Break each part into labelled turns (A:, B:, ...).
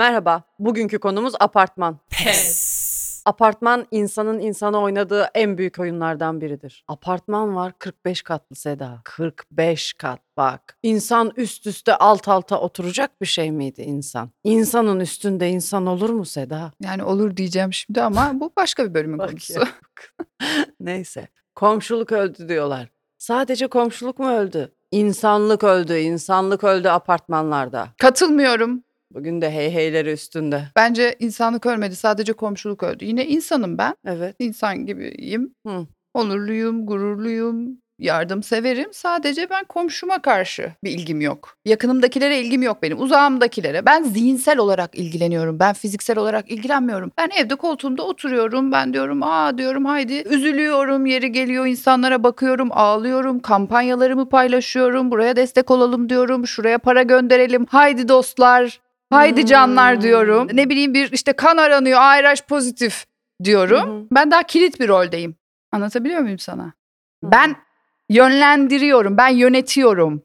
A: Merhaba. Bugünkü konumuz apartman.
B: Pes.
A: Apartman insanın insana oynadığı en büyük oyunlardan biridir. Apartman var 45 katlı Seda. 45 kat bak. İnsan üst üste alt alta oturacak bir şey miydi insan? İnsanın üstünde insan olur mu Seda?
B: Yani olur diyeceğim şimdi ama bu başka bir bölümün
A: Bak
B: konusu.
A: ya. Neyse. Komşuluk öldü diyorlar. Sadece komşuluk mu öldü? İnsanlık öldü, insanlık öldü apartmanlarda.
B: Katılmıyorum.
A: Bugün de heyheyleri üstünde.
B: Bence insanlık ölmedi sadece komşuluk öldü. Yine insanım ben.
A: Evet.
B: İnsan gibiyim.
A: Hı.
B: Onurluyum, gururluyum, yardımseverim. Sadece ben komşuma karşı bir ilgim yok. Yakınımdakilere ilgim yok benim. Uzağımdakilere. Ben zihinsel olarak ilgileniyorum. Ben fiziksel olarak ilgilenmiyorum. Ben evde koltuğumda oturuyorum. Ben diyorum aa diyorum haydi. Üzülüyorum yeri geliyor insanlara bakıyorum ağlıyorum. Kampanyalarımı paylaşıyorum. Buraya destek olalım diyorum. Şuraya para gönderelim. Haydi dostlar. Haydi canlar
A: Hmm.
B: diyorum. Ne bileyim bir işte kan aranıyor. Ayraj pozitif diyorum.
A: Hı hı.
B: Ben daha kilit bir roldeyim. Anlatabiliyor muyum sana?
A: Hı.
B: Ben yönlendiriyorum, ben yönetiyorum.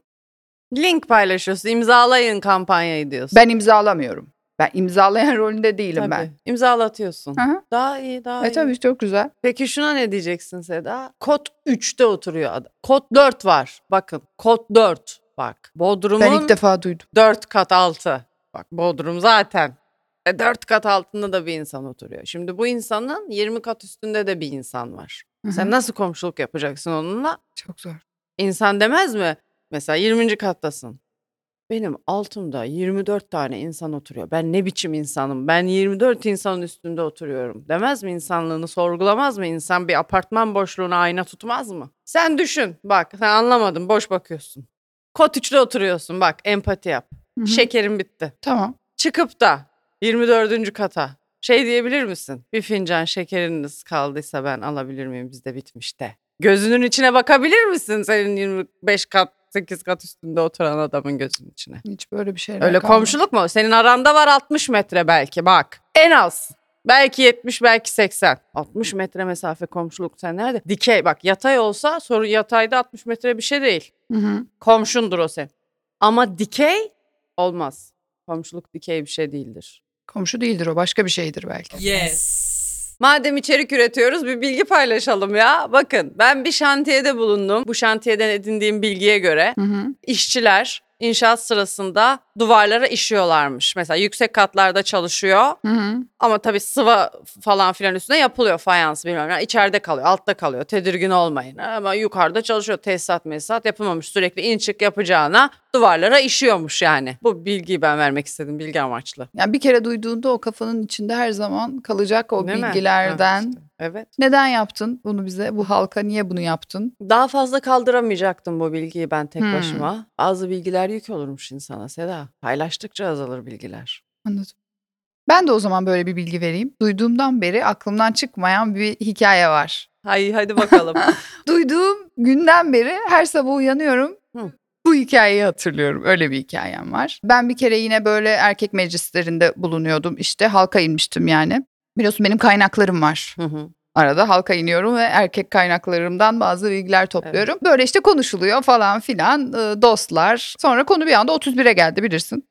A: Link paylaşıyorsun, imzalayın kampanyayı diyorsun.
B: Ben imzalamıyorum. Ben imzalayan rolünde değilim
A: Tabii,
B: ben.
A: İmzalatıyorsun.
B: Aha.
A: Daha iyi, daha
B: E
A: iyi.
B: tabii çok güzel.
A: Peki şuna ne diyeceksin Seda? Kod 3'te oturuyor adam. Kod 4 var. Bakın, kod 4. Bak, Bodrum'un
B: Ben ilk defa duydum.
A: 4 kat altı. Bak, Bodrum zaten. E, 4 kat altında da bir insan oturuyor. Şimdi bu insanın 20 kat üstünde de bir insan var. Sen
B: Hı hı.
A: nasıl komşuluk yapacaksın onunla?
B: Çok zor.
A: İnsan demez mi? Mesela 20. kattasın. Benim altımda 24 tane insan oturuyor. Ben ne biçim insanım? Ben 24 insanın üstünde oturuyorum. Demez mi insanlığını sorgulamaz mı? İnsan bir apartman boşluğuna ayna tutmaz mı? Sen düşün bak sen anlamadın boş bakıyorsun. Kot üçlü oturuyorsun bak empati yap.
B: Hı hı.
A: Şekerim bitti.
B: Tamam.
A: Çıkıp da 24. kata şey diyebilir misin? Bir fincan şekeriniz kaldıysa ben alabilir miyim bizde bitmiş de. Gözünün içine bakabilir misin senin 25 kat 8 kat üstünde oturan adamın gözünün içine?
B: Hiç böyle bir şey.
A: Öyle komşuluk mu? Senin aranda var 60 metre belki bak. En az. Belki 70 belki 80. 60 metre mesafe komşuluk sen nerede? Dikey bak yatay olsa sorun yatayda 60 metre bir şey değil. Komşundur o sen. Ama dikey olmaz. Komşuluk dikey bir şey değildir.
B: Komşu değildir o, başka bir şeydir belki.
C: Yes.
A: Madem içerik üretiyoruz bir bilgi paylaşalım ya. Bakın ben bir şantiyede bulundum. Bu şantiyeden edindiğim bilgiye göre
B: Hı hı.
A: işçiler inşaat sırasında duvarlara işiyorlarmış. Mesela yüksek katlarda çalışıyor
B: Hı hı.
A: ama tabii sıva falan filan üstüne yapılıyor fayans bilmem ne. İçeride kalıyor, altta kalıyor. Tedirgin olmayın. Ama yukarıda çalışıyor. Tesisat mesisat yapılmamış. Sürekli in çık yapacağına duvarlara işiyormuş yani. Bu bilgiyi ben vermek istedim bilgi amaçlı.
B: Yani bir kere duyduğunda o kafanın içinde her zaman kalacak o
A: Değil mi?
B: bilgilerden.
A: Evet, işte. Evet.
B: Neden yaptın bunu bize? Bu halka niye bunu yaptın?
A: Daha fazla kaldıramayacaktım bu bilgiyi ben tek
B: Hmm.
A: başıma. Bazı bilgiler yük olurmuş insana Seda. Paylaştıkça azalır bilgiler.
B: Anladım. Ben de o zaman böyle bir bilgi vereyim. Duyduğumdan beri aklımdan çıkmayan bir hikaye var.
A: Hay hadi bakalım.
B: Duyduğum günden beri her sabah uyanıyorum.
A: Hı.
B: Bu hikayeyi hatırlıyorum. Öyle bir hikayem var. Ben bir kere yine böyle erkek meclislerinde bulunuyordum. İşte halka inmiştim yani. Biliyorsun benim kaynaklarım var.
A: Hı hı.
B: Arada halka iniyorum ve erkek kaynaklarımdan bazı bilgiler topluyorum. Böyle işte konuşuluyor falan filan e, dostlar. Sonra konu bir anda 31'e geldi bilirsin.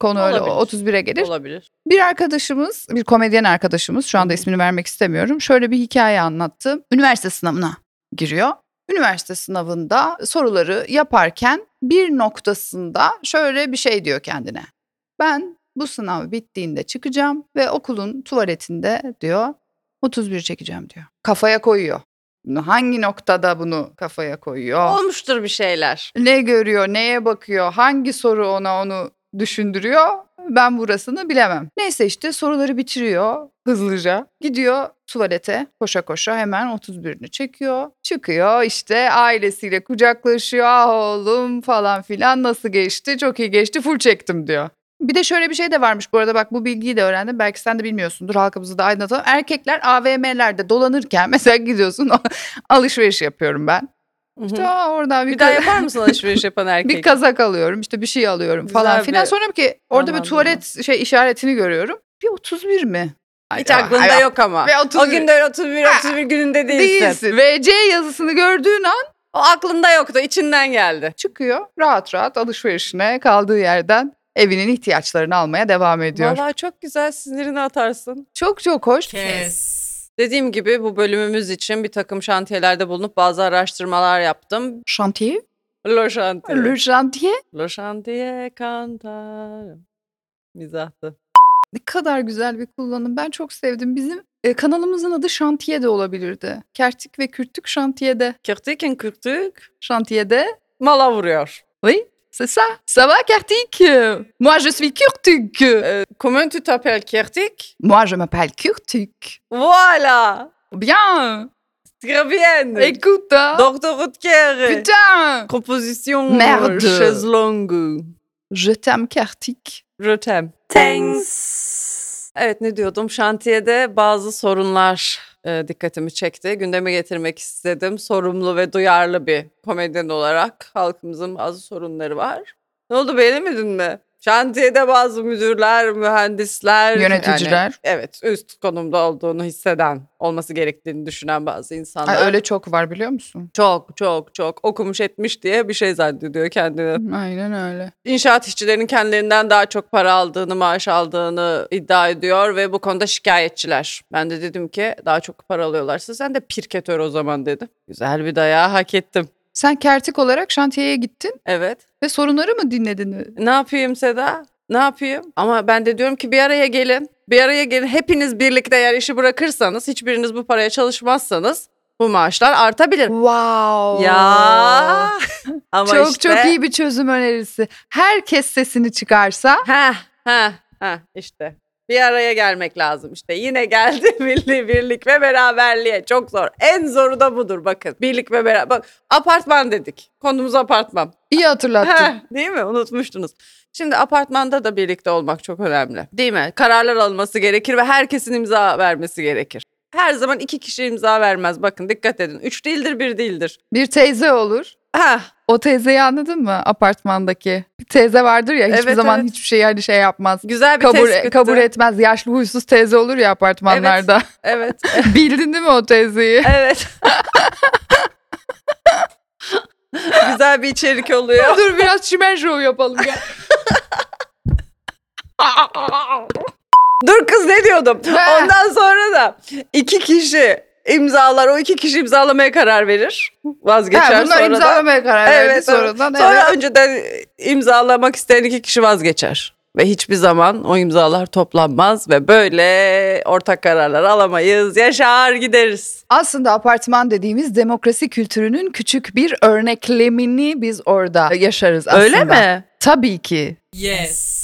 B: Konu öyle
A: Olabilir.
B: 31'e gelir.
A: Olabilir.
B: Bir arkadaşımız, bir komedyen arkadaşımız şu anda
A: Hı hı.
B: ismini vermek istemiyorum. Şöyle bir hikaye anlattı. Üniversite sınavına giriyor. Üniversite sınavında soruları yaparken bir noktasında şöyle bir şey diyor kendine. Ben bu sınav bittiğinde çıkacağım ve okulun tuvaletinde diyor 31 çekeceğim diyor. Kafaya koyuyor. Bunu hangi noktada bunu kafaya koyuyor?
A: Olmuştur bir şeyler.
B: ne görüyor, neye bakıyor, hangi soru ona onu düşündürüyor ben burasını bilemem. Neyse işte soruları bitiriyor hızlıca. Gidiyor tuvalete koşa koşa hemen 31'ini çekiyor. Çıkıyor işte ailesiyle kucaklaşıyor. Ah oğlum falan filan nasıl geçti? Çok iyi geçti full çektim diyor. Bir de şöyle bir şey de varmış bu arada bak bu bilgiyi de öğrendim. Belki sen de bilmiyorsundur halkımızı da aydınlatalım. Erkekler AVM'lerde dolanırken mesela gidiyorsun alışveriş yapıyorum ben.
A: Hı hı.
B: İşte "Aa, oradan bir,
A: Bir daha
B: kız-
A: yapar mısın alışveriş yapan erkek?
B: bir kazak alıyorum işte bir şey alıyorum
A: Güzel
B: falan
A: bir
B: filan. Sonra ki orada bir
A: anlamda.
B: tuvalet şey işaretini görüyorum. Bir 31 mi?
A: Hiç
B: Ay,
A: aklında
B: ay,
A: yok ama.
B: Ve
A: O
B: 31
A: günde 31, 31 gününde değilsin.
B: Değilsin. VC yazısını gördüğün an
A: O aklında yoktu, içinden geldi.
B: çıkıyor rahat rahat alışverişine kaldığı yerden evinin ihtiyaçlarını almaya devam ediyor.
A: Vallahi çok güzel sinirini atarsın.
B: Çok çok hoş.
C: Kes.
A: Dediğim gibi bu bölümümüz için bir takım şantiyelerde bulunup bazı araştırmalar yaptım.
B: Şantiye.
A: Lo şantiye.
B: Le şantiye.
A: Lo e şantiye kantarım. Mizahtı.
B: Ne kadar güzel bir kullanım. Ben çok sevdim. Bizim e, kanalımızın adı Şantiye de olabilirdi. Kertik ve Kürtük Şantiye'de.
A: Kırtıkken kırtık.
B: Şantiye'de.
A: Mala vuruyor.
B: C'est ça. Ça va Kertik? Moi je suis Kürtük.
A: Comment tu t'appelles kırtık?
B: Moi je m'appelle Kürtük.
A: Voilà.
B: Bien.
A: Très bien.
B: Écoute. hein.
A: Doktor
B: euh,
A: Utker.
B: Putain.
A: Composition. euh,
B: Merde.
A: Şezlongu.
B: Je t'aime Kertik.
A: Je t'aime.
C: Thanks.
A: Evet ne diyordum şantiyede bazı sorunlar e, dikkatimi çekti. Gündeme getirmek istedim. Sorumlu ve duyarlı bir komedyen olarak halkımızın bazı sorunları var. Ne oldu beğenemedin mi? Şantiyede bazı müdürler, mühendisler, yani-
B: Yöneticiler.
A: evet üst konumda olduğunu hisseden, olması gerektiğini düşünen bazı insanlar.
B: Ay, öyle çok var biliyor musun?
A: Çok çok çok okumuş etmiş diye bir şey zannediyor kendini.
B: Aynen öyle.
A: İnşaat işçilerinin kendilerinden daha çok para aldığını, maaş aldığını iddia ediyor ve bu konuda şikayetçiler. Ben de dedim ki daha çok para alıyorlarsa sen de pirketör o zaman dedim. Güzel bir dayağı hak ettim.
B: Sen Kertik olarak şantiyeye gittin
A: Evet.
B: ve sorunları mı dinledin?
A: Ne yapayım Seda? Ne yapayım? Ama ben de diyorum ki bir araya gelin. Bir araya gelin. Hepiniz birlikte eğer işi bırakırsanız, hiçbiriniz bu paraya çalışmazsanız bu maaşlar artabilir.
B: Wow.
A: Ya. Ama
B: çok
A: işte-
B: çok iyi bir çözüm önerisi. Herkes sesini çıkarsa
A: Ha ha ha işte. Bir araya gelmek lazım işte. Yine geldi milli birlik ve beraberliğe. Çok zor. En zoru da budur bakın. Birlik ve beraber. Bak apartman dedik. Konumuz apartman.
B: iyi hatırlattın.
A: Ha, değil mi? Unutmuştunuz. Şimdi apartmanda da birlikte olmak çok önemli. Değil mi? Kararlar alınması gerekir ve herkesin imza vermesi gerekir. Her zaman iki kişi imza vermez. Bakın dikkat edin. Üç değildir, bir değildir.
B: Bir teyze olur.
A: Ha,
B: O teyzeyi anladın mı apartmandaki? Bir teyze vardır ya hiçbir
A: Evet,
B: zaman
A: evet.
B: hiçbir şey yani şey yapmaz.
A: güzel bir
B: Kabul, e-
A: tespitti.
B: kabul etmez. Yaşlı huysuz teyze olur ya apartmanlarda.
A: Evet,
B: Bildin değil mi o teyzeyi?
A: Evet. Güzel bir içerik oluyor.
B: Dur biraz çimen şovu yapalım ya.
A: Dur kız ne diyordum?
B: Ha.
A: Ondan sonra da iki kişi imzalar. O iki kişi imzalamaya karar verir. Vazgeçer
B: Ha, bunlar
A: sonra da.
B: imzalamaya karar
A: Evet,
B: verdi
A: evet.
B: sonradan.
A: Sonra
B: evet.
A: önceden imzalamak isteyen iki kişi vazgeçer. Ve hiçbir zaman o imzalar toplanmaz ve böyle ortak kararlar alamayız. Yaşar gideriz.
B: Aslında apartman dediğimiz demokrasi kültürünün küçük bir örneklemini biz orada yaşarız aslında.
A: Öyle mi?
B: Tabii ki.
C: Yes.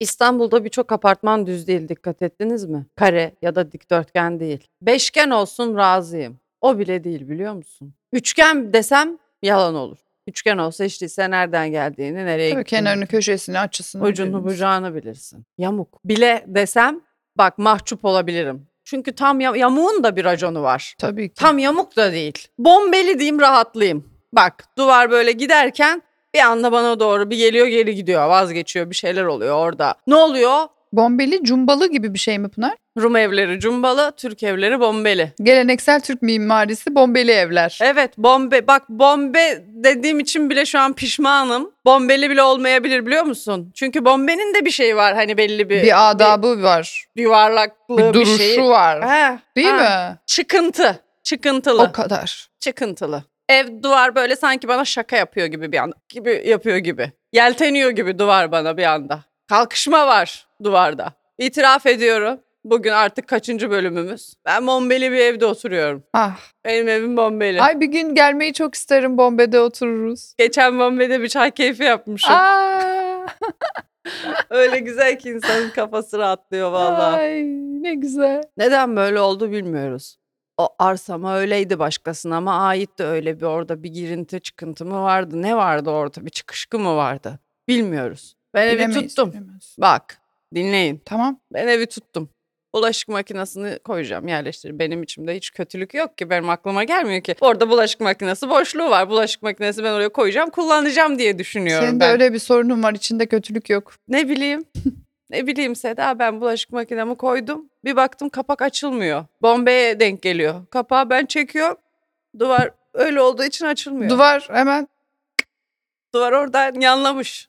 A: İstanbul'da birçok apartman düz değil dikkat ettiniz mi? Kare ya da dikdörtgen değil. Beşgen olsun razıyım. O bile değil biliyor musun? Üçgen desem yalan olur. Üçgen olsa işte sen nereden geldiğini, nereye
B: Tabii
A: gittiğini,
B: kenarını, köşesini, açısını.
A: ucunu
B: biliriz.
A: bucağını bilirsin. Yamuk. Bile desem bak mahcup olabilirim. Çünkü tam ya- yamuğun da bir raconu var.
B: Tabii ki.
A: Tam yamuk da değil. Bombeli diyeyim rahatlayayım. Bak duvar böyle giderken bir anda bana doğru bir geliyor geri gidiyor vazgeçiyor bir şeyler oluyor orada. Ne oluyor?
B: Bombeli, cumbalı gibi bir şey mi Pınar?
A: Rum evleri cumbalı, Türk evleri bombeli.
B: Geleneksel Türk mimarisi bombeli evler.
A: Evet bombe bak bombe dediğim için bile şu an pişmanım. Bombeli bile olmayabilir biliyor musun? Çünkü bombenin de bir şeyi var hani belli bir,
B: bir adabı var.
A: bir yuvarlaklığı
B: Bir
A: bir,
B: duruşu
A: şeyi.
B: var.
A: Ha,
B: Değil
A: ha.
B: mi?
A: Çıkıntı. Çıkıntılı.
B: O kadar.
A: çıkıntılı. Ev duvar böyle sanki bana şaka yapıyor gibi bir anda. Gibi yapıyor gibi. Yelteniyor gibi duvar bana bir anda. Kalkışma var duvarda. İtiraf ediyorum. Bugün artık kaçıncı bölümümüz? Ben bombeli bir evde oturuyorum.
B: Ah.
A: Benim evim bombeli.
B: Ay bir gün gelmeyi çok isterim Bombe'de otururuz.
A: Geçen bombede bir çay keyfi yapmışım.
B: Aa,
A: Öyle güzel ki insanın kafası rahatlıyor vallahi.
B: Ay ne güzel.
A: Neden böyle oldu bilmiyoruz. O arsama öyleydi başkasına ama ait de öyle bir orada bir girinti çıkıntı mı vardı? Ne vardı orada? Bir çıkışkı mı vardı? Bilmiyoruz. Ben evi
B: Bilemeyiz,
A: tuttum.
B: bilemeyiz.
A: Bak dinleyin.
B: Tamam.
A: Ben evi tuttum. Bulaşık makinesini koyacağım yerleştir. Benim içimde hiç kötülük yok ki. Benim aklıma gelmiyor ki. Orada bulaşık makinesi boşluğu var. Bulaşık makinesi ben oraya koyacağım kullanacağım diye düşünüyorum
B: Senin de
A: ben.
B: öyle bir sorunun var. içinde kötülük yok.
A: Ne bileyim. ne bileyim Seda ben bulaşık makinemi koydum. Bir baktım kapak açılmıyor. Bombeye denk geliyor. Kapağı ben çekiyorum. Duvar öyle olduğu için açılmıyor. Duvar,
B: Duvar hemen.
A: oradan yanlamış.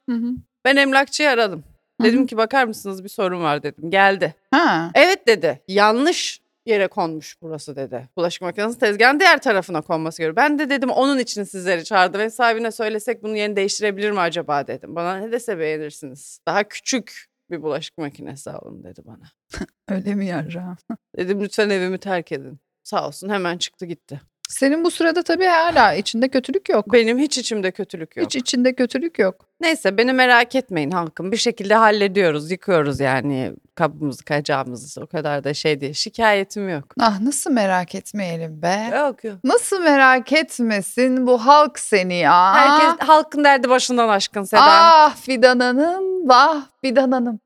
A: Ben emlakçıyı aradım. Dedim ki bakar mısınız bir sorun var dedim. Geldi.
B: Ha.
A: Evet dedi. Yanlış yere konmuş burası dedi. Bulaşık makinesi tezgahın diğer tarafına konması gerekiyor. Ben de dedim onun için sizleri çağırdım. Ev sahibine söylesek bunu yeni değiştirebilir mi acaba dedim. Bana ne dese beğenirsiniz. Daha küçük bir bulaşık makinesi alın dedi bana.
B: Öyle mi yarra?
A: Dedim lütfen evimi terk edin. Sağ olsun hemen çıktı gitti.
B: Senin bu sırada tabii hala içinde kötülük yok.
A: Benim hiç içimde kötülük yok.
B: Hiç içinde kötülük yok.
A: Neyse beni merak etmeyin halkım. Bir şekilde hallediyoruz, yıkıyoruz yani kabımızı, kacağımızı. O kadar da şey değil. Şikayetim yok.
B: Ah nasıl merak etmeyelim be.
A: Yok yok.
B: Nasıl merak etmesin bu halk seni ya.
A: Herkes halkın derdi başından aşkın Seda.
B: Ah Fidan Hanım, vah Fidan Hanım.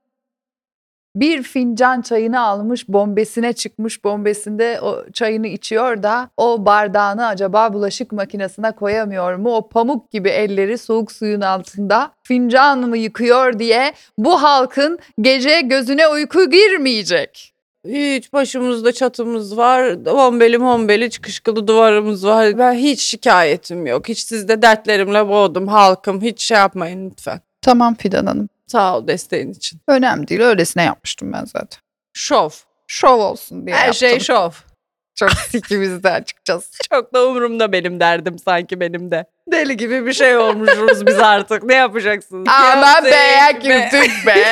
B: Bir fincan çayını almış, bombesine çıkmış, bombesinde o çayını içiyor da o bardağını acaba bulaşık makinesine koyamıyor mu? O pamuk gibi elleri soğuk suyun altında fincan mı yıkıyor diye bu halkın gece gözüne uyku girmeyecek.
A: Hiç başımızda çatımız var. Hombeli hombeli çıkışkılı duvarımız var. Ben hiç şikayetim yok. Hiç sizde dertlerimle boğdum halkım. Hiç şey yapmayın lütfen.
B: Tamam Fidan Hanım,
A: Sağ ol desteğin için.
B: önemli değil öylesine yapmıştım ben zaten.
A: Şov.
B: Şov olsun diye
A: Her
B: yaptım.
A: şey şov.
B: Çok sikimizden açıkçası.
A: Çok da umurumda benim derdim sanki benim de. Deli gibi bir şey olmuşuz biz artık. Ne yapacaksınız?
B: Ama
A: Yaptık
B: be güldük be.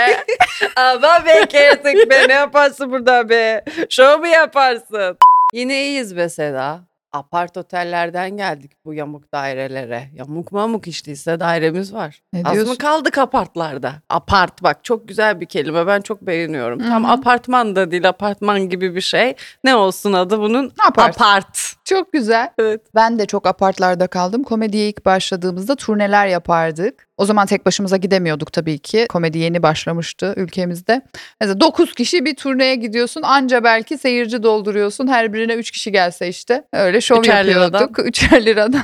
A: Ama be kertik be. Ne yaparsın burada be? Şov mu yaparsın? Yine iyiyiz be Seda. Apart otellerden geldik bu yamuk dairelere. Yamuk mamuk işteyse dairemiz var.
B: Ne
A: Az
B: diyorsun?
A: mı kaldık apartlarda? Apart bak çok güzel bir kelime ben çok beğeniyorum. Tam
B: Hı hı.
A: apartman da değil apartman gibi bir şey. Ne olsun adı bunun?
B: Ne yaparsın?
A: Apart.
B: Çok güzel.
A: Evet.
B: Ben de çok apartlarda kaldım. Komediye ilk başladığımızda turneler yapardık. O zaman tek başımıza gidemiyorduk tabii ki. Komedi yeni başlamıştı ülkemizde. Mesela 9 kişi bir turneye gidiyorsun. Anca belki seyirci dolduruyorsun. Her birine 3 kişi gelse işte. Öyle şov
A: Üçer
B: yapıyorduk. 3'er liradan.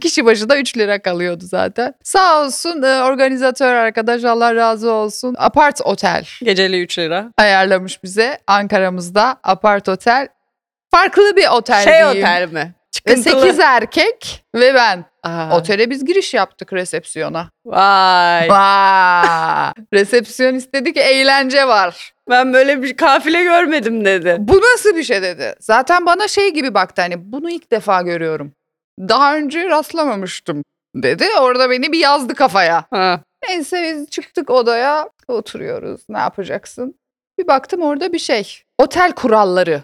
B: kişi başı da 3 lira kalıyordu zaten. Sağ olsun e, organizatör arkadaş Allah razı olsun. Apart otel
A: Geceli 3 lira.
B: ayarlamış bize Ankara'mızda apart otel. Farklı bir otel
A: Şey
B: diyeyim.
A: otel mi?
B: Ve 8 erkek ve ben.
A: Aa,
B: Otele biz giriş yaptık resepsiyona.
A: Vay.
B: Vaa! Resepsiyonist dedi ki eğlence var.
A: Ben böyle bir kafile görmedim dedi.
B: Bu nasıl bir şey dedi. Zaten bana şey gibi baktı hani bunu ilk defa görüyorum. Daha önce rastlamamıştım dedi. Orada beni bir yazdı kafaya.
A: Ha.
B: Neyse biz çıktık odaya oturuyoruz ne yapacaksın? Bir baktım orada bir şey. Otel kuralları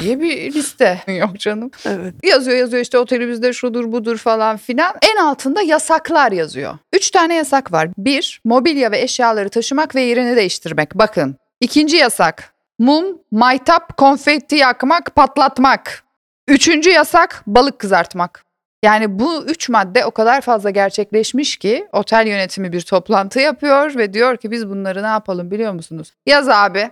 B: diye bir liste. Yok canım.
A: evet.
B: Yazıyor yazıyor işte otelimizde şudur budur falan filan. En altında yasaklar yazıyor. Üç tane yasak var. Bir, mobilya ve eşyaları taşımak ve yerini değiştirmek. Bakın. İkinci yasak. Mum, maytap, konfetti yakmak, patlatmak. Üçüncü yasak balık kızartmak. Yani bu üç madde o kadar fazla gerçekleşmiş ki otel yönetimi bir toplantı yapıyor ve diyor ki biz bunları ne yapalım biliyor musunuz? Yaz abi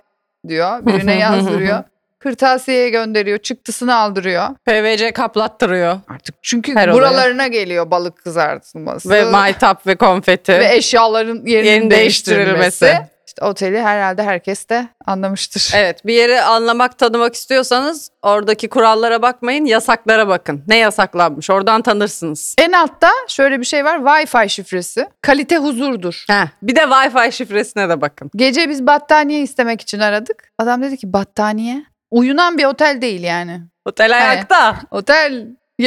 B: diyor birine yazdırıyor. Kırtasiyeye gönderiyor çıktısını aldırıyor.
A: PVC kaplattırıyor.
B: Artık çünkü
A: Her olaya.
B: buralarına geliyor balık kızartılması
A: Ve maytap ve konfeti.
B: ve eşyaların yerinin
A: Yerinin değiştirilmesi.
B: değiştirilmesi. İşte oteli herhalde herkes de anlamıştır.
A: Evet bir yeri anlamak tanımak istiyorsanız oradaki kurallara bakmayın yasaklara bakın. Ne yasaklanmış oradan tanırsınız.
B: En altta şöyle bir şey var Wi-Fi şifresi. Kalite huzurdur.
A: Heh. Bir de Wi-Fi şifresine de bakın.
B: Gece biz battaniye istemek için aradık. Adam dedi ki battaniye? Uyunan bir otel değil yani.
A: Otel ayakta.
B: Otel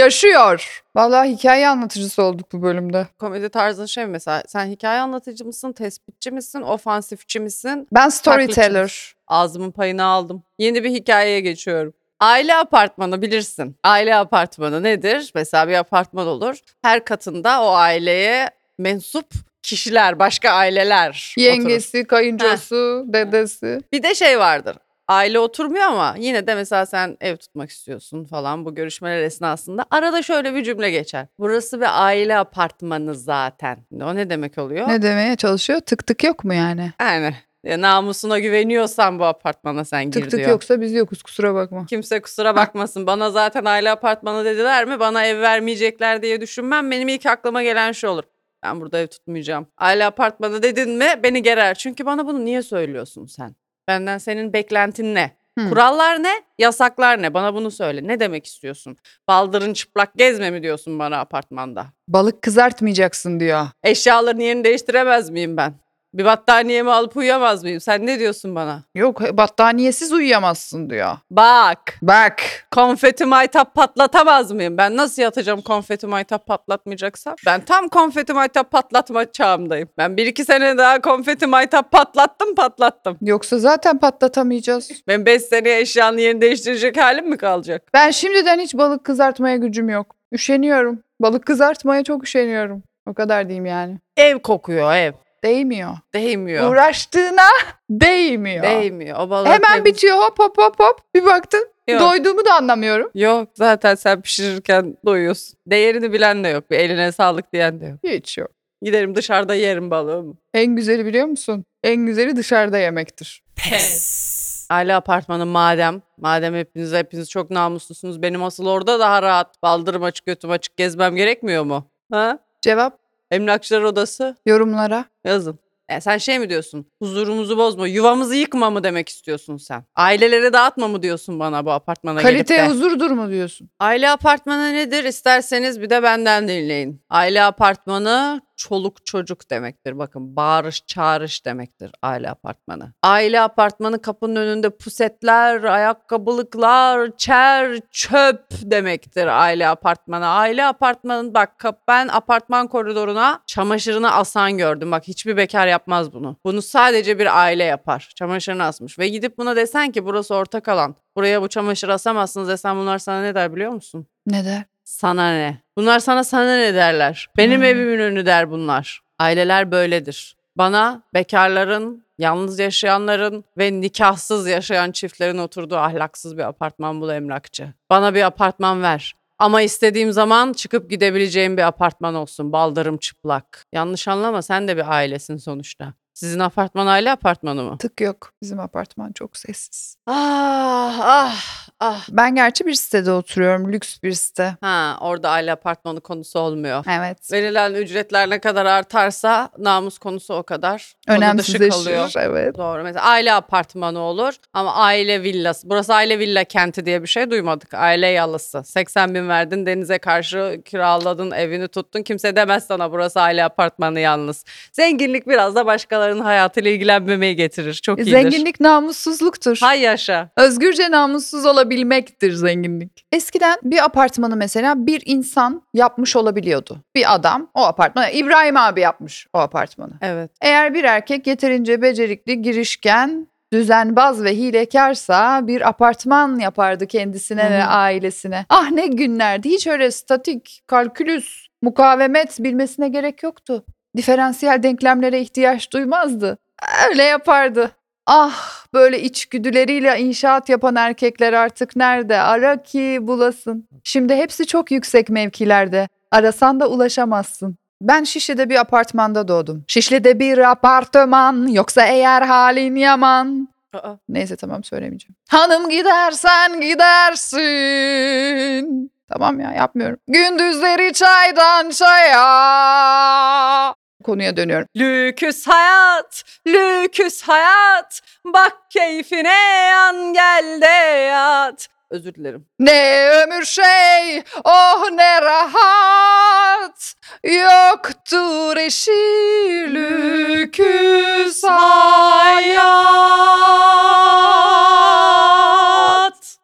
B: yaşıyor. Vallahi hikaye anlatıcısı olduk bu bölümde.
A: Komedi tarzın şey mi mesela sen hikaye anlatıcı mısın, tespitçi misin, ofansifçi misin?
B: Ben storyteller.
A: Ağzımın payını aldım. Yeni bir hikayeye geçiyorum. Aile apartmanı bilirsin. Aile apartmanı nedir? Mesela bir apartman olur. Her katında o aileye mensup kişiler, başka aileler oturur.
B: Yengesi, kayıncosu, dedesi.
A: Bir de şey vardır. Aile oturmuyor ama yine de mesela sen ev tutmak istiyorsun falan bu görüşmeler esnasında arada şöyle bir cümle geçer. Burası bir aile apartmanı zaten. O ne demek oluyor?
B: Ne demeye çalışıyor? Tık tık yok mu yani?
A: Yani ya namusuna güveniyorsan bu apartmana sen gir
B: Tık tık
A: diyor.
B: yoksa biz yokuz kusura bakma.
A: Kimse kusura bakmasın. Bana zaten aile apartmanı dediler mi? Bana ev vermeyecekler diye düşünmem. Benim ilk aklıma gelen şu olur. Ben burada ev tutmayacağım. Aile apartmanı dedin mi beni gerer. Çünkü bana bunu niye söylüyorsun sen? Benden senin beklentin ne?
B: Hmm.
A: Kurallar ne? Yasaklar ne? Bana bunu söyle. Ne demek istiyorsun? Baldırın çıplak gezme mi diyorsun bana apartmanda?
B: Balık kızartmayacaksın diyor.
A: Eşyaların yerini değiştiremez miyim ben? Bir battaniyemi alıp uyuyamaz mıyım? Sen ne diyorsun bana?
B: Yok battaniyesiz uyuyamazsın diyor.
A: Bak
B: Bak
A: konfeti maytap patlatamaz mıyım? Ben nasıl yatacağım konfeti maytap patlatmayacaksam? Ben tam konfeti maytap patlatma çağımdayım. Ben bir iki sene daha konfeti maytap patlattım patlattım.
B: yoksa zaten patlatamayacağız.
A: Ben 5 seneye eşyanın yerini değiştirecek halim mi kalacak?
B: Ben şimdiden hiç balık kızartmaya gücüm yok. Üşeniyorum. Balık kızartmaya çok üşeniyorum. O kadar diyeyim yani.
A: Ev kokuyor ev.
B: Değmiyor.
A: Değmiyor.
B: Uğraştığına değmiyor.
A: Değmiyor. O balığı
B: Hemen
A: temiz-
B: bitiyor hop hop hop hop. Bir baktın
A: Yok.
B: doyduğumu da anlamıyorum.
A: Yok zaten sen pişirirken doyuyorsun. Değerini bilen de yok. Bir eline sağlık diyen de yok.
B: Hiç yok.
A: Giderim dışarıda yerim balığımı.
B: En güzeli biliyor musun? En güzeli dışarıda yemektir.
C: Pes.
A: Aile apartmanı madem. Madem hepiniz hepiniz çok namuslusunuz. Benim asıl orada daha rahat. Baldırım açık götüm açık gezmem gerekmiyor mu? Ha?
B: Cevap
A: Emlakçılar odası
B: yorumlara.
A: yazın. E sen şey mi diyorsun? Huzurumuzu bozma, yuvamızı yıkma mı demek istiyorsun sen? Ailelere dağıtma mı diyorsun bana bu apartmana gelip de?
B: Kalite huzurdur mu diyorsun?
A: Aile apartmanı nedir? İsterseniz bir de benden dinleyin. Aile apartmanı çoluk çocuk demektir. Bakın bağırış çağırış demektir aile apartmanı. Aile apartmanı kapının önünde pusetler, ayakkabılıklar, çer, çöp demektir aile apartmanı. Aile apartmanı bak kap- ben apartman koridoruna çamaşırını asan gördüm. Bak hiçbir bekar yapmaz bunu. Bunu sadece bir aile yapar. Çamaşırını asmış ve gidip buna desen ki burası ortak alan. Buraya bu çamaşır asamazsınız desen bunlar sana ne der biliyor musun?
B: Ne der?
A: Sana ne? Bunlar sana sana ne derler? Benim
B: Hmm.
A: evimin önü der bunlar. Aileler böyledir. Bana bekarların, yalnız yaşayanların ve nikahsız yaşayan çiftlerin oturduğu ahlaksız bir apartman bul emlakçı. Bana bir apartman ver. Ama istediğim zaman çıkıp gidebileceğim bir apartman olsun. Baldırım çıplak. Yanlış anlama sen de bir ailesin sonuçta. Sizin apartman aile apartmanı mı?
B: Tık yok. Bizim apartman çok sessiz.
A: Ah ah ah.
B: Ben gerçi bir sitede oturuyorum. Lüks bir site.
A: Ha orada aile apartmanı konusu olmuyor.
B: Evet.
A: verilen ücretler ne kadar artarsa namus konusu o kadar konu dışı kalıyor.
B: Önemsizleşir. Evet.
A: Doğru. Mesela aile apartmanı olur ama aile villası. Burası aile villa kenti diye bir şey duymadık. Aile yalısı. 80 bin verdin denize karşı kiraladın evini tuttun. Kimse demez sana burası aile apartmanı yalnız. Zenginlik biraz da başkalarının hayatıyla ilgilenmemeyi getirir. Çok iyidir.
B: Zenginlik namussuzluktur.
A: Hay yaşa.
B: Özgürce namussuz olabilmektir zenginlik. Eskiden bir apartmanı mesela bir insan yapmış olabiliyordu. Bir adam o apartmanı, İbrahim abi yapmış o apartmanı.
A: Evet.
B: Eğer bir erkek yeterince becerikli, girişken, düzenbaz ve hilekarsa bir apartman yapardı kendisine
A: Hı
B: ve
A: hı.
B: ailesine. Ah ne günlerdi hiç öyle statik, kalkülüs, mukavemet bilmesine gerek yoktu. Diferansiyel denklemlere ihtiyaç duymazdı. Öyle yapardı. Ah böyle içgüdüleriyle inşaat yapan erkekler artık nerede? Ara ki bulasın. Şimdi hepsi çok yüksek mevkilerde. Arasan da ulaşamazsın. Ben Şişli'de bir apartmanda doğdum. Şişli'de bir apartman yoksa eğer halin yaman.
A: Aa,
B: Neyse tamam söylemeyeceğim. Hanım gidersen gidersin. Tamam ya yapmıyorum. Gündüzleri çaydan çaya. Konuya dönüyorum.
A: Lüküs hayat, lüküs hayat, bak keyfine yan gel de yat. Özür dilerim.
B: Ne ömür şey, oh ne rahat. Yoktur eşi lüküs
A: Hayat.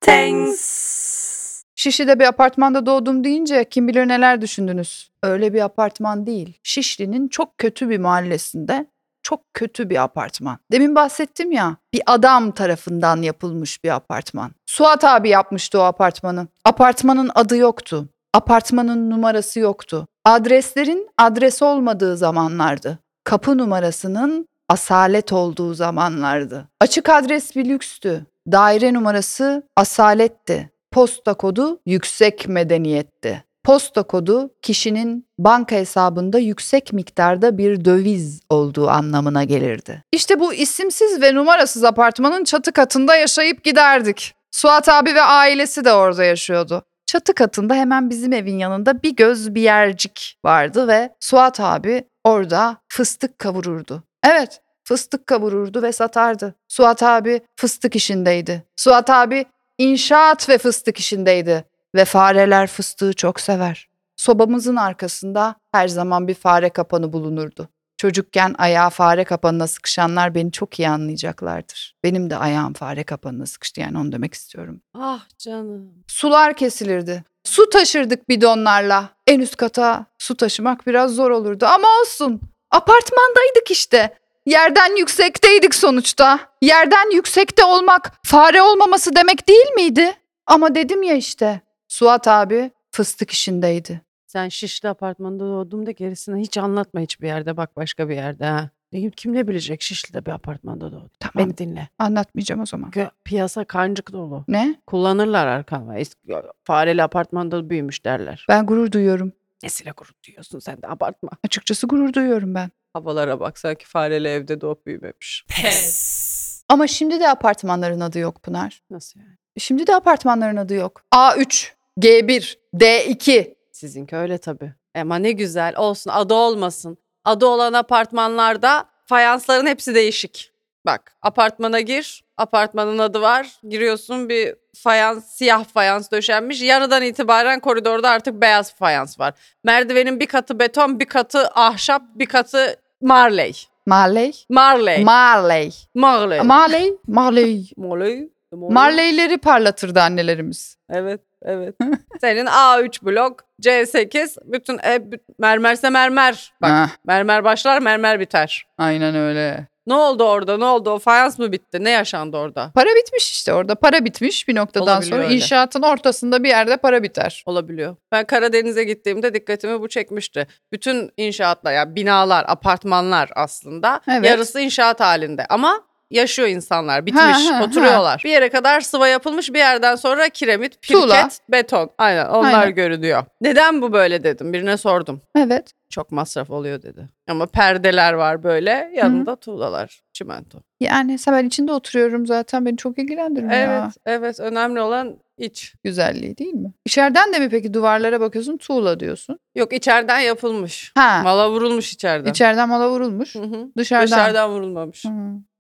C: Thanks.
B: Şişli'de bir apartmanda doğdum deyince kim bilir neler düşündünüz. Öyle bir apartman değil. Şişli'nin çok kötü bir mahallesinde çok kötü bir apartman. Demin bahsettim ya bir adam tarafından yapılmış bir apartman. Suat abi yapmıştı o apartmanı. Apartmanın adı yoktu. Apartmanın numarası yoktu. Adreslerin adres olmadığı zamanlardı. Kapı numarasının asalet olduğu zamanlardı. Açık adres bir lükstü. Daire numarası asaletti. Posta kodu yüksek medeniyetti. Posta kodu kişinin banka hesabında yüksek miktarda bir döviz olduğu anlamına gelirdi. İşte bu isimsiz ve numarasız apartmanın çatı katında yaşayıp giderdik. Suat abi ve ailesi de orada yaşıyordu. Çatı katında hemen bizim evin yanında bir göz bir yercik vardı ve Suat abi orada fıstık kavururdu. Evet, fıstık kavururdu ve satardı. Suat abi fıstık işindeydi. Suat abi İnşaat ve fıstık işindeydi ve fareler fıstığı çok sever. Sobamızın arkasında her zaman bir fare kapanı bulunurdu. Çocukken ayağa fare kapanına sıkışanlar beni çok iyi anlayacaklardır. Benim de ayağım fare kapanına sıkıştı yani onu demek istiyorum.
A: Ah canım.
B: Sular kesilirdi. Su taşırdık bidonlarla. En üst kata su taşımak biraz zor olurdu ama olsun. Apartmandaydık işte. Yerden yüksekteydik sonuçta. Yerden yüksekte olmak fare olmaması demek değil miydi? Ama dedim ya işte. Suat abi fıstık işindeydi.
A: Sen Şişli apartmanda doğdum da gerisini hiç anlatma hiçbir yerde bak başka bir yerde ha. Dedim kim ne bilecek Şişli'de bir apartmanda doğdum.
B: Tamam
A: Beni dinle.
B: anlatmayacağım o zaman.
A: Çünkü piyasa kancık dolu.
B: Ne?
A: Kullanırlar arkama. Eski, fareli apartmanda büyümüş derler.
B: Ben gurur duyuyorum.
A: Nesile gurur diyorsun sen de abartma.
B: Açıkçası gurur duyuyorum ben.
A: Havalara bak sanki fareli evde doğup büyümemiş.
C: Pes.
B: Ama şimdi de apartmanların adı yok Pınar.
A: Nasıl yani?
B: Şimdi de apartmanların adı yok. A3, G1, D2.
A: Sizinki öyle tabii. Ama ne güzel olsun adı olmasın. Adı olan apartmanlarda fayansların hepsi değişik. Bak apartmana gir apartmanın adı var giriyorsun bir fayans siyah fayans döşenmiş yarıdan itibaren koridorda artık beyaz fayans var. Merdivenin bir katı beton bir katı ahşap bir katı marley.
B: Marley.
A: Marley.
B: Marley.
A: marley.
B: Marley. Marley.
A: marley. Marley.
B: Marley'leri parlatırdı annelerimiz.
A: Evet, evet. Senin A3 blok, C8 bütün e, b- mermerse mermer. Bak
B: Heh,
A: mermer başlar, mermer biter.
B: aynen öyle.
A: Ne oldu orada? Ne oldu? O fayans mı bitti? Ne yaşandı orada?
B: Para bitmiş işte orada. Para bitmiş bir noktadan
A: Olabiliyor
B: sonra
A: öyle.
B: inşaatın ortasında bir yerde para biter.
A: Olabiliyor. Ben Karadeniz'e gittiğimde dikkatimi bu çekmişti. Bütün inşaatlar, yani binalar, apartmanlar aslında
B: Evet.
A: yarısı inşaat halinde ama yaşıyor insanlar. Bitmiş,
B: Ha, ha,
A: oturuyorlar. Bir yere kadar sıva yapılmış, bir yerden sonra kiremit, pirket,
B: Tuğla.
A: beton. Aynen onlar
B: Aynen.
A: görünüyor. Neden bu böyle dedim. Birine sordum.
B: Evet.
A: çok masraf oluyor dedi. Ama perdeler var böyle yanında tuğlalar çimento.
B: Yani sen ben içinde oturuyorum zaten beni çok ilgilendirmiyor.
A: Evet evet önemli olan iç.
B: Güzelliği değil mi? İçeriden de mi peki duvarlara bakıyorsun tuğla diyorsun?
A: Yok içeriden yapılmış.
B: Ha.
A: Mala vurulmuş içeriden.
B: İçeriden mala vurulmuş.
A: Hı hı.
B: Dışarıdan.
A: Dışarıdan vurulmamış.
B: Hı.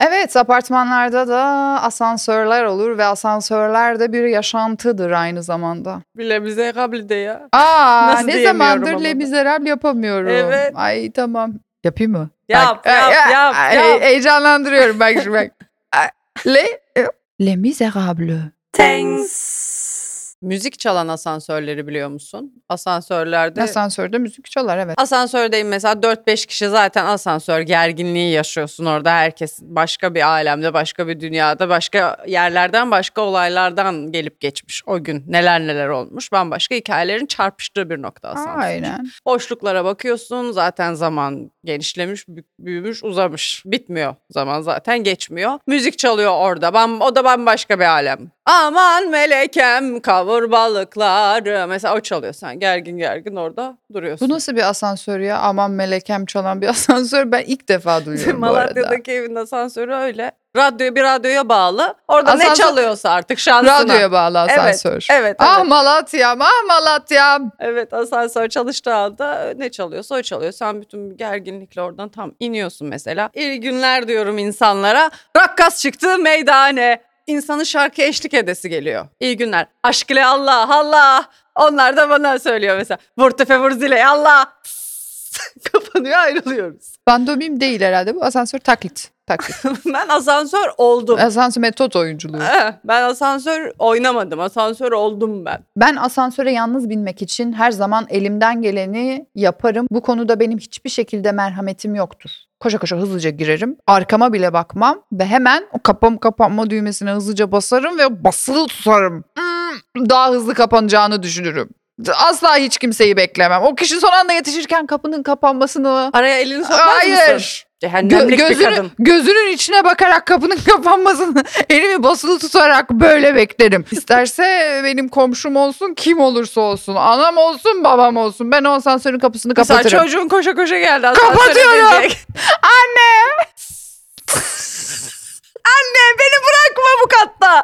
B: Evet apartmanlarda da asansörler olur ve asansörler de bir yaşantıdır aynı zamanda.
A: Bile bize kabul de ya.
B: Aa
A: Nasıl
B: ne
A: diyemiyorum
B: zamandır
A: ama
B: Le
A: ben.
B: Miserable yapamıyorum.
A: Evet.
B: Ay tamam. Yapayım mı?
A: Yap,
B: Bak,
A: yap,
B: e, e,
A: yap,
B: e,
A: yap.
B: Heyecanlandırıyorum bak şimdi bak. Le, e, Le Miserable.
C: Thanks.
A: Müzik çalan asansörleri biliyor musun? Asansörlerde
B: Asansörde müzik çalar evet.
A: Asansördeyim mesela 4-5 kişi zaten asansör gerginliği yaşıyorsun orada. Herkes başka bir alemde, başka bir dünyada, başka yerlerden, başka olaylardan gelip geçmiş o gün. Neler neler olmuş. Bambaşka hikayelerin çarpıştığı bir nokta asansör.
B: Aynen.
A: Boşluklara bakıyorsun zaten zaman genişlemiş, bü- büyümüş, uzamış. Bitmiyor zaman zaten geçmiyor. Müzik çalıyor orada. Ben, o da bambaşka bir alem. Aman melekem kavur balıkları. Mesela o çalıyor sen gergin gergin orada duruyorsun.
B: Bu nasıl bir asansör ya? Aman melekem çalan bir asansör. Ben ilk defa duyuyorum bu arada.
A: Malatya'daki evin asansörü öyle. Radyoya bir radyoya bağlı. Orada ne
B: Asansör-
A: çalıyorsa artık şansına.
B: Radyoya bağlı
A: Evet,
B: asansör.
A: Evet,
B: Ah
A: evet.
B: Malatya'm, ah Malatya'm.
A: Evet, asansör çalıştığı anda "Ee, ne çalıyorsa o çalıyor. Sen bütün gerginlikle oradan tam iniyorsun mesela. İyi günler diyorum insanlara. Rakkas çıktı meydane. İnsanın şarkı eşlik edesi geliyor. İyi günler. Aşk ile Allah, Allah. Onlar da bana söylüyor mesela. Vur tefe vur zile Allah. Kapanıyor ayrılıyoruz.
B: Pandomim değil herhalde bu. Asansör taklit. Taklit.
A: ben asansör oldum.
B: Asansör metot oyunculuğu.
A: Eh, Ben asansör oynamadım. Asansör oldum ben.
B: Ben asansöre yalnız binmek için her zaman elimden geleni yaparım. Bu konuda benim hiçbir şekilde merhametim yoktur. Koşa koşa hızlıca girerim. Arkama bile bakmam ve hemen o kapam kapanma düğmesine hızlıca basarım ve basılı tutarım. Hmm, Daha hızlı kapanacağını düşünürüm. Asla hiç kimseyi beklemem. O kişi son anda yetişirken kapının kapanmasını
A: Araya elini sokmaz mısın?
B: Hayır. Gö-
A: Cehennemlik bir
B: gözünü,
A: kadın.
B: gözünün içine bakarak kapının kapanmasını elimi basılı tutarak böyle beklerim. İsterse benim komşum olsun kim olursa olsun anam olsun babam olsun ben o asansörün kapısını
A: Mesela
B: kapatırım.
A: çocuğun koşa koşa geldi. asansöre
B: Kapatıyorum.
A: binecek. Anne beni bırakma bu katta.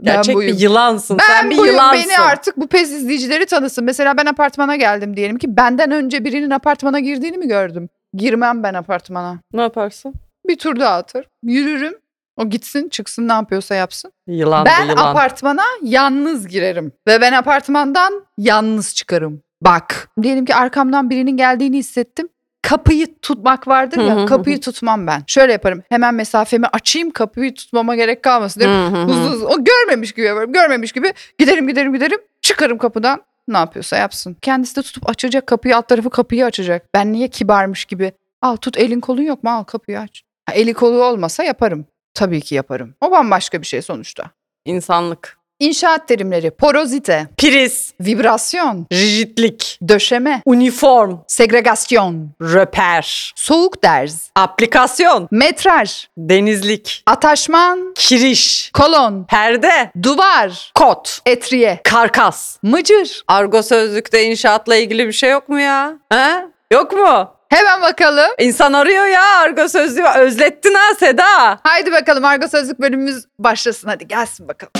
B: Ben
A: Gerçek bir
B: buyum.
A: yılansın.
B: Ben
A: Sen bir
B: buyum
A: yılansın.
B: beni artık bu pes izleyicileri tanısın. Mesela ben apartmana geldim diyelim ki benden önce birinin apartmana girdiğini mi gördüm? Girmem ben apartmana.
A: Ne yaparsın?
B: Bir tur daha atarım. Yürürüm. O gitsin çıksın ne yapıyorsa yapsın.
A: Yılan
B: ben
A: da yılan.
B: apartmana yalnız girerim. Ve ben apartmandan yalnız çıkarım. Bak. Diyelim ki arkamdan birinin geldiğini hissettim. Kapıyı tutmak vardır ya kapıyı tutmam ben. Şöyle yaparım hemen mesafemi açayım kapıyı tutmama gerek kalmasın derim.
D: Hı hı hı.
B: Hızlı hızlı o görmemiş gibi yaparım görmemiş gibi giderim giderim giderim çıkarım kapıdan ne yapıyorsa yapsın. Kendisi de tutup açacak kapıyı alt tarafı kapıyı açacak. Ben niye kibarmış gibi al tut elin kolun yok mu al kapıyı aç. Ha, eli kolu olmasa yaparım. Tabii ki yaparım. O bambaşka bir şey sonuçta.
D: İnsanlık.
B: İnşaat terimleri porozite,
A: Priz,
B: vibrasyon,
A: rigidlik,
B: döşeme,
A: uniform,
B: segregasyon,
A: röper,
B: soğuk derz,
A: aplikasyon,
B: metraj,
A: denizlik,
B: ataşman,
A: kiriş,
B: kolon,
A: perde,
B: duvar,
A: kot,
B: etriye,
A: karkas.
B: mıcır.
A: Argo sözlükte inşaatla ilgili bir şey yok mu ya? Ha? Yok mu?
B: Hemen bakalım.
A: İnsan arıyor ya argo sözlüğü. Özlettin ha Seda.
B: Haydi bakalım Argo Sözlük bölümümüz başlasın hadi gelsin bakalım.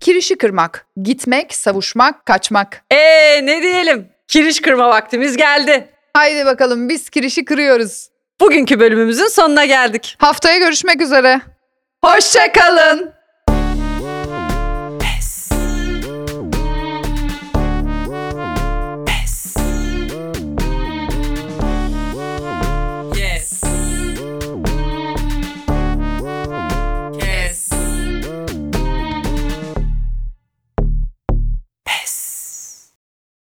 B: Kirişi kırmak, gitmek, savuşmak, kaçmak.
A: Ee ne diyelim? Kiriş kırma vaktimiz geldi.
B: Haydi bakalım biz kirişi kırıyoruz.
A: Bugünkü bölümümüzün sonuna geldik.
B: Haftaya görüşmek üzere.
A: Hoşçakalın.